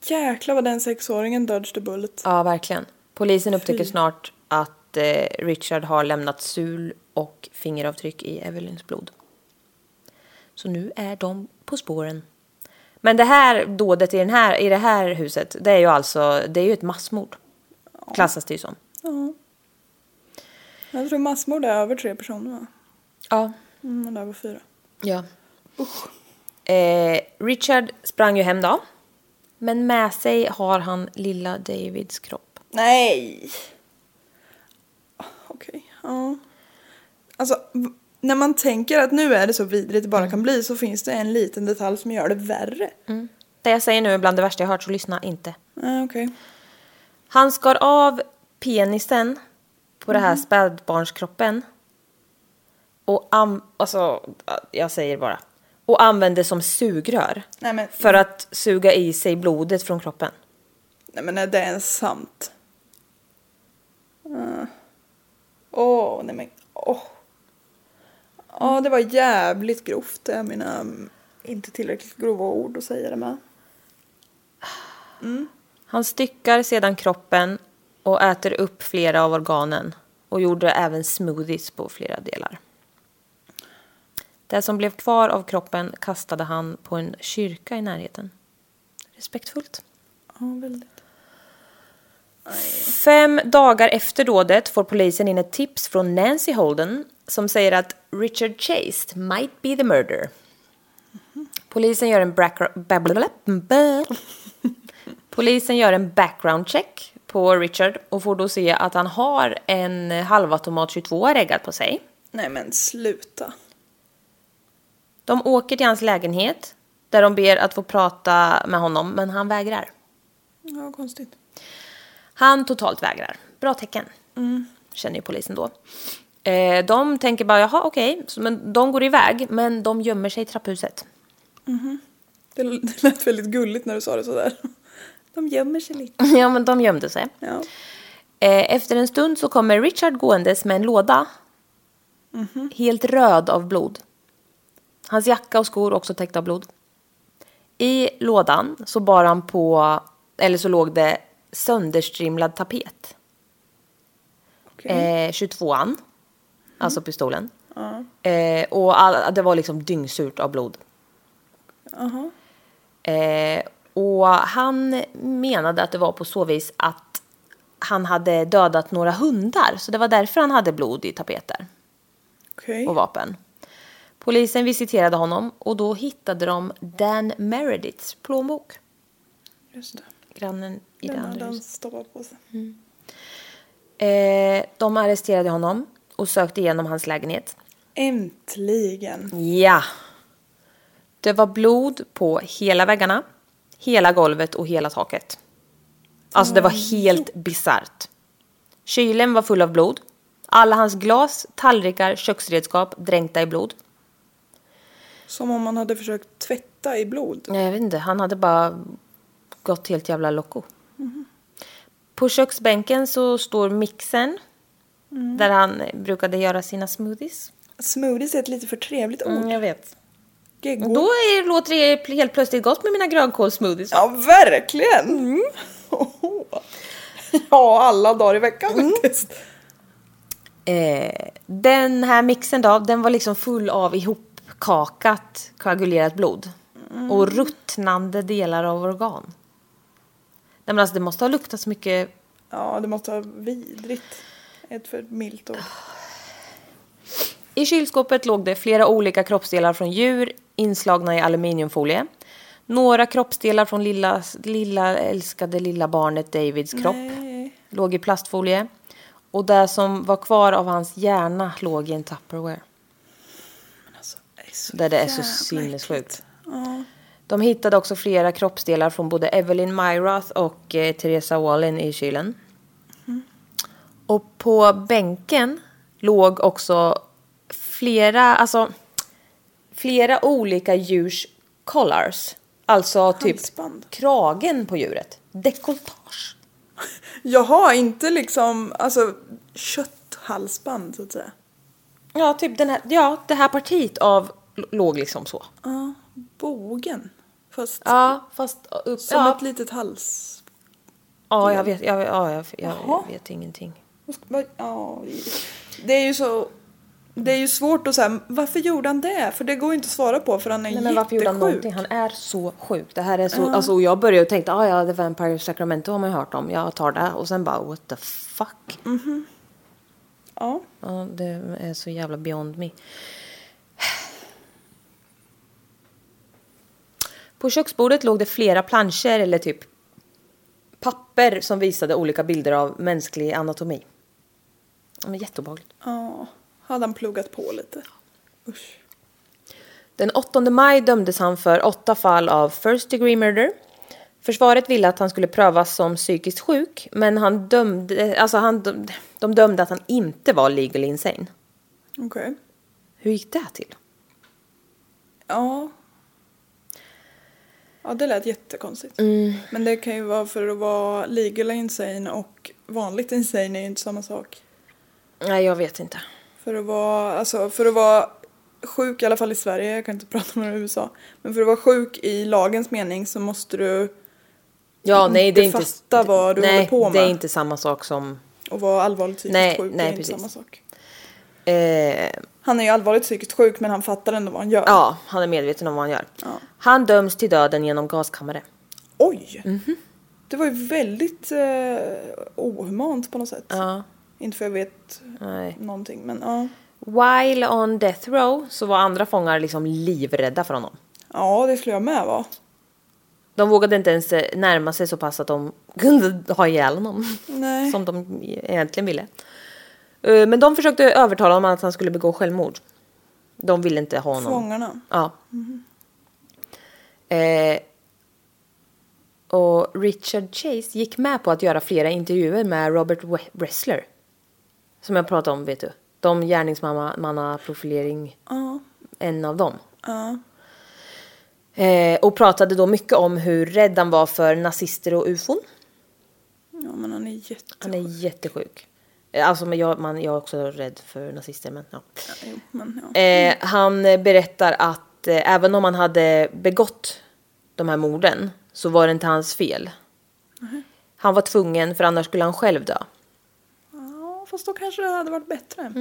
Jäklar vad den sexåringen dodged the bullet. Ja, verkligen. Polisen upptäcker Fy. snart att eh, Richard har lämnat sul och fingeravtryck i Evelyns blod. Så nu är de på spåren. Men det här dådet i, den här, i det här huset, det är ju alltså det är ju ett massmord. Klassas det ju som. Ja. Jag tror massmord är över tre personer va? Ja. Mm, och det här var fyra. Ja. Eh, Richard sprang ju hem då. Men med sig har han lilla Davids kropp. Nej! Okej, ja. Alltså, v- när man tänker att nu är det så vidrigt det bara kan bli så finns det en liten detalj som gör det värre. Det jag säger nu är bland det värsta jag hört, så lyssna inte. Ja, Ah, okej. Han skar av penisen på det här spädbarnskroppen. Och am- alltså, jag säger bara. Och använde som sugrör. Nej, men- För att suga i sig blodet från kroppen. Nej men är det ens sant? Ah. Åh, nej men åh. Ja, det var jävligt grovt. Det är mina mm, inte tillräckligt grova ord att säga det med. Han styckar sedan kroppen och äter upp flera av organen och gjorde även smoothies på flera delar. Det som blev kvar av kroppen kastade han på en kyrka i närheten. Respektfullt. Ja, väldigt. Fem dagar efter dådet får polisen in ett tips från Nancy Holden som säger att Richard Chase might be the murderer. Polisen gör en brack- blablabla- bla- Polisen gör en background check på Richard och får då se att han har en halvautomat 22 reggad på sig. Nej men sluta. De åker till hans lägenhet där de ber att få prata med honom men han vägrar. Ja, konstigt. Han totalt vägrar. Bra tecken. Känner ju polisen då. Eh, de tänker bara, jaha okej. Så, Men de går iväg, men de gömmer sig i trapphuset. Det, l- det lät väldigt gulligt när du sa det sådär. De gömmer sig lite. ja, men de gömde sig. Ja. Eh, efter en stund så kommer Richard gåendes med en låda. Helt röd av blod. Hans jacka och skor också täckta av blod. I lådan så bar han på, eller så låg det sönderstrimlad tapet. Okej. Eh, 22an. Alltså pistolen. Eh, och all, det var liksom dyngsurt av blod. Jaha. Eh, och han menade att det var på så vis att han hade dödat några hundar. Så det var därför han hade blod i tapeter Okej. och vapen. Polisen visiterade honom och då hittade de Dan Merediths plånbok. Just det. Grannen i det Den hade andra han huset. stoppat på sig. Eh, de arresterade honom och sökte igenom hans lägenhet. Äntligen. Ja. Det var blod på hela väggarna, hela golvet och hela taket. Alltså det var helt bisarrt. Kylen var full av blod. Alla hans glas, tallrikar, köksredskap dränkta i blod. Som om man hade försökt tvätta i blod. Nej, jag vet inte. Han hade bara gått helt jävla loco. På köksbänken så står mixen. Där han brukade göra sina smoothies. Smoothies är ett lite för trevligt ord. jag vet. Geggo. Mm, Då är, låter det helt plötsligt gott med mina grönkålssmoothies. Ja, verkligen! Mm. Oho. Ja, alla dagar i veckan Mm. faktiskt. Eh, den här mixen då, den var liksom full av ihopkakat koagulerat blod. Och ruttnande delar av organ. Nej men alltså det måste ha luktat så mycket. Ja, det måste vara vidrigt. Ett för milt ord. I kylskåpet låg det flera olika kroppsdelar från djur inslagna i aluminiumfolie. Några kroppsdelar från lilla, lilla älskade lilla barnet Davids kropp låg i plastfolie. Och det som var kvar av hans hjärna låg i en Tupperware. Det är så Där det är så jävla sinnessjukt. äckligt. Ja. De hittade också flera kroppsdelar från både Evelyn Myrath och eh, Teresa Wallin i kylen. Mm. Och på bänken låg också flera, alltså flera olika djurs collars. Alltså typ Halsband. kragen på djuret. Dekoltage. Jaha, inte liksom alltså, kötthalsband så att säga. Ja, typ den här, ja, det här partiet av l- låg liksom så. Ja, bogen. Fast Ja, fast upp, som ja, ett litet hals... Ja, jag vet, jag, ja, jag, jag Jaha. vet ingenting. Vad ska- vad- ja, Det är ju så... Det är ju svårt att säga, varför gjorde han det? För det går ju inte att svara på för han är Nej, men varför gjorde han jättesjuk. någonting? Han är så sjuk. Det här är så... Alltså, och jag började och tänkte, ah, ja, The Vampire of Sacramento har man ju hört om. Jag tar det. Och sen bara, what the fuck? Ja. Ja, det är så jävla beyond me. På köksbordet låg det flera planscher eller typ papper som visade olika bilder av mänsklig anatomi. Ja, men Jätteobehagligt. ja. Hade han pluggat på lite? Usch. Den 8 maj dömdes han för åtta fall av first degree murder. Försvaret ville att han skulle prövas som psykiskt sjuk, men han dömde, alltså han, dömde- de dömde att han inte var legal insane. Okej. Hur gick det till? Ja. Ja, det lät jättekonstigt. Mm. Men det kan ju vara för att vara legal insane och vanligt insane är ju inte samma sak. Nej, jag vet inte. För att vara, alltså, för att vara sjuk, i alla fall i Sverige, jag kan inte prata om det i USA. Men för att vara sjuk i lagens mening så måste du Ja, nej, det är inte... Inte fatta vad du nej, håller på med. det är inte samma sak som... och vara allvarligt psykiskt Nej, sjuk, nej, det är precis. inte samma sak. Eh, Han är ju allvarligt psykiskt sjuk men han fattar ändå vad han gör. ja, han är medveten om vad han gör. Han döms till döden genom gaskammare. Oj! Mhm. Det var ju väldigt eh, ohumant på något sätt. Inte för jag vet Nej. någonting men ja. While on death row så var andra fångar liksom livrädda för honom. Ja, det skulle jag med vara. De vågade inte ens eh, närma sig så pass att de kunde ha ihjäl honom. Nej. Som de egentligen ville. Eh, Men de försökte övertala honom att han skulle begå självmord. De ville inte ha honom. Fångarna. Ja. Eh, och Richard Chase gick med på att göra flera intervjuer med Robert We- Wrestler. Som jag pratade om, vet du. De gärningsmannaprofilering. Ja. En av dem. Ja. Eh, och pratade då mycket om hur rädd han var för nazister och ufon. ja, men han är jätte... Han är jättesjuk. Eh, Alltså, men jag, man, jag är också rädd för nazister, men ja. Jo, men ja. Eh, han eh, berättar att eh, även om han hade begått de här morden så var det inte hans fel. Han var tvungen för annars skulle han själv dö. ja, fast då kanske det hade varit bättre.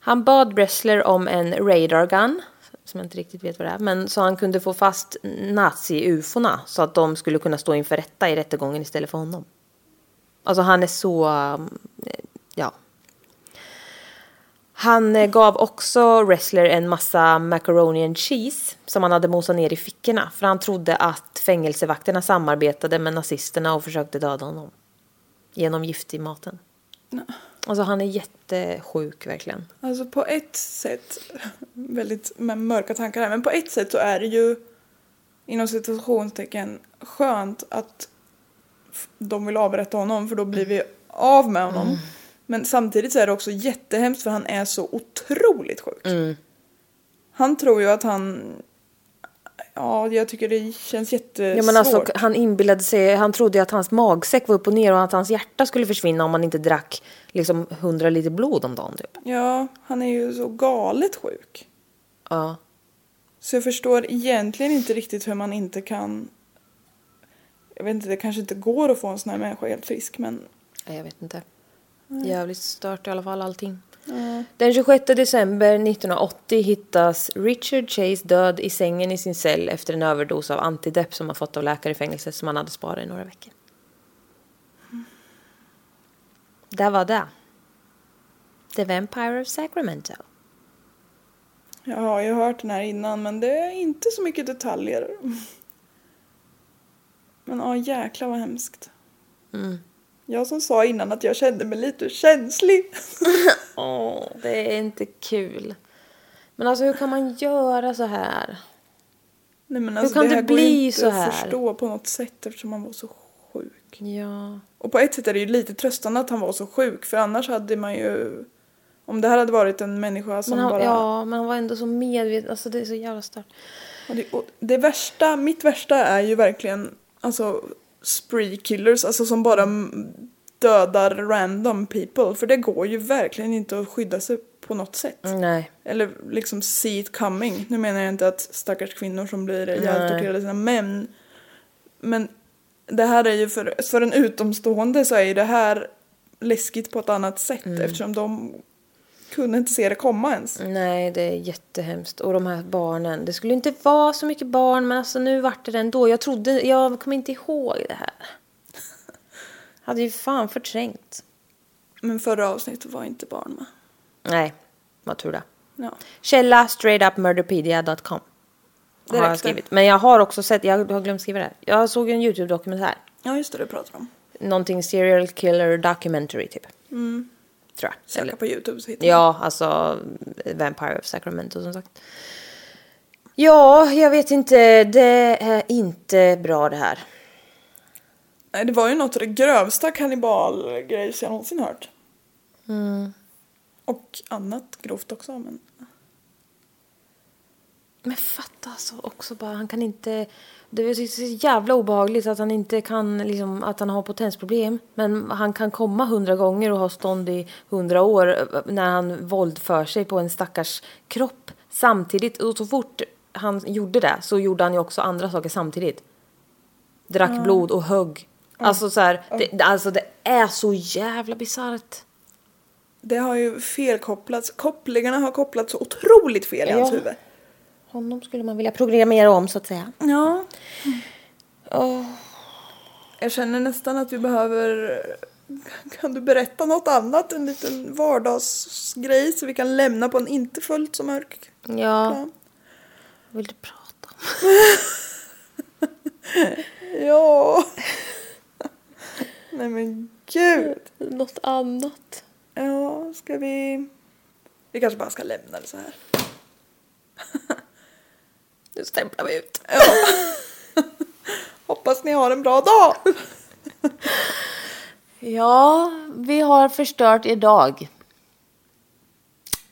Han bad Bressler om en radar gun, som jag inte riktigt vet vad det är, men så han kunde få fast nazi-ufona så att de skulle kunna stå inför rätta i rättegången istället för honom. Alltså han är så, um, eh, ja. Han eh, gav också Wrestler en massa macaroni and cheese som han hade mosat ner i fickorna för han trodde att fängelsevakterna samarbetade med nazisterna och försökte döda honom. Genom gift i maten. Alltså han är jättesjuk verkligen. Alltså på ett sätt, väldigt med mörka tankar här, men på ett sätt så är det ju inom situationstecken skönt att f- de vill avrätta honom för då blir vi av med honom. Mm. Men samtidigt så är det också jättehemskt för han är så otroligt sjuk. Mm. Han tror ju att han... Ja, jag tycker det känns jättesvårt. Ja, men alltså, han inbillade sig, han trodde ju att hans magsäck var upp och ner och att hans hjärta skulle försvinna om han inte drack liksom 100 liter blod om dagen typ. ja, han är ju så galet sjuk. Ja. Så jag förstår egentligen inte riktigt hur man inte kan... Jag vet inte, det kanske inte går att få en sån här människa helt frisk men... Nej, Jag vet inte. Jävligt stört i alla fall allting. Den 26 december 1980 hittas Richard Chase död i sängen i sin cell efter en överdos av antidepp som han fått av läkare i fängelse som han hade sparat i några veckor. Där var det. The Vampire of Sacramento. Ja, jag har ju hört den här innan men det är inte så mycket detaljer. Men ja, jäklar vad hemskt. Mm. Jag som sa innan att jag kände mig lite känslig. Åh, det är inte kul. Men alltså hur kan man göra så här? Nej, men alltså, kan det här går ju bli inte så att här? förstå på något sätt eftersom han var så sjuk. Ja. Och på ett sätt är det ju lite tröstande att han var så sjuk för annars hade man ju... Om det här hade varit en människa som Men han, bara... ja, men han var ändå så medveten. Alltså det är så jävla stört. Ja, det, och det värsta, mitt värsta är ju verkligen alltså spree killers, alltså som bara mm, dödar random people. För det går ju verkligen inte att skydda sig på något sätt. Nej. Eller liksom see it coming. Nu menar jag inte att stackars kvinnor som blir ihjältorterade av sina män. Men det här är ju för, för en utomstående så är ju det här läskigt på ett annat sätt Mm. eftersom de kunde inte se det komma ens. Nej, det är jättehemskt. Och de här barnen. Det skulle inte vara så mycket barn, men alltså nu vart det ändå. Jag trodde, jag kommer inte ihåg det här. Hade ju fan förträngt. Men förra avsnittet var inte barn med. Nej, vad tur det. Ja. Källa straightupmurderpedia.com. Det Har jag räckte. skrivit. Men jag har också sett, jag har glömt skriva det här. Jag såg en YouTube-dokumentär. Ja, just det, du pratar om. Någonting serial killer documentary typ. Tror jag. Söka på Youtube så hittar Ja, alltså Vampire of Sacramento som sagt. Ja, jag vet inte. Det är inte bra det här. Nej, det var ju något av det grövsta kannibalgrejs jag någonsin hört. Mm. Och annat grovt också, men... Men fatta alltså också bara, han kan inte... Det är så jävla obehagligt att han inte kan, liksom, att han har potensproblem. Men han kan komma hundra gånger och ha stånd i hundra år eh, när han våldför sig på en stackars kropp. Samtidigt, och så fort han gjorde det så gjorde han ju också andra saker samtidigt. Drack blod och högg. Alltså så här, det, alltså det är så jävla bisarrt. Det har ju felkopplats. Kopplingarna har kopplats så otroligt fel i hans Ja. huvud. Honom skulle man vilja programmera om så att säga. Ja. Åh. Mm. Jag känner nästan att vi behöver... Kan du berätta något annat? En liten vardagsgrej så vi kan lämna på en inte fullt så mörk Ja. plan. Vill du prata om? Ja. Nej men gud. Något annat. Ja, ska vi... Vi kanske bara ska lämna det så här. Nu stämplar vi ut. Hoppas ni har en bra dag! Ja, vi har förstört er dag.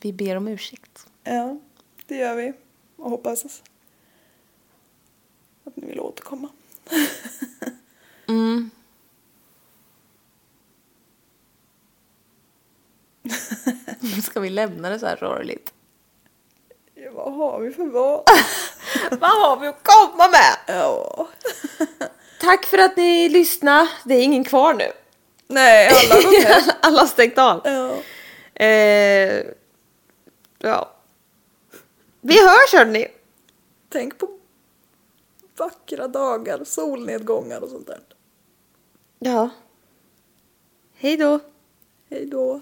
Vi ber om ursäkt. Ja, det gör vi. Och hoppas att ni vill återkomma. Ska vi lämna det så här rörligt? Ja, vad har vi för vad? Vad har vi att komma med? Ja. Tack för att ni lyssnade. Det är ingen kvar nu. Nej, alla har gått hem. Alla har stängt av. Ja. Eh, ja. Vi hörs hörni. Tänk på vackra dagar, solnedgångar och sånt där. Ja. Hej då. Hej då!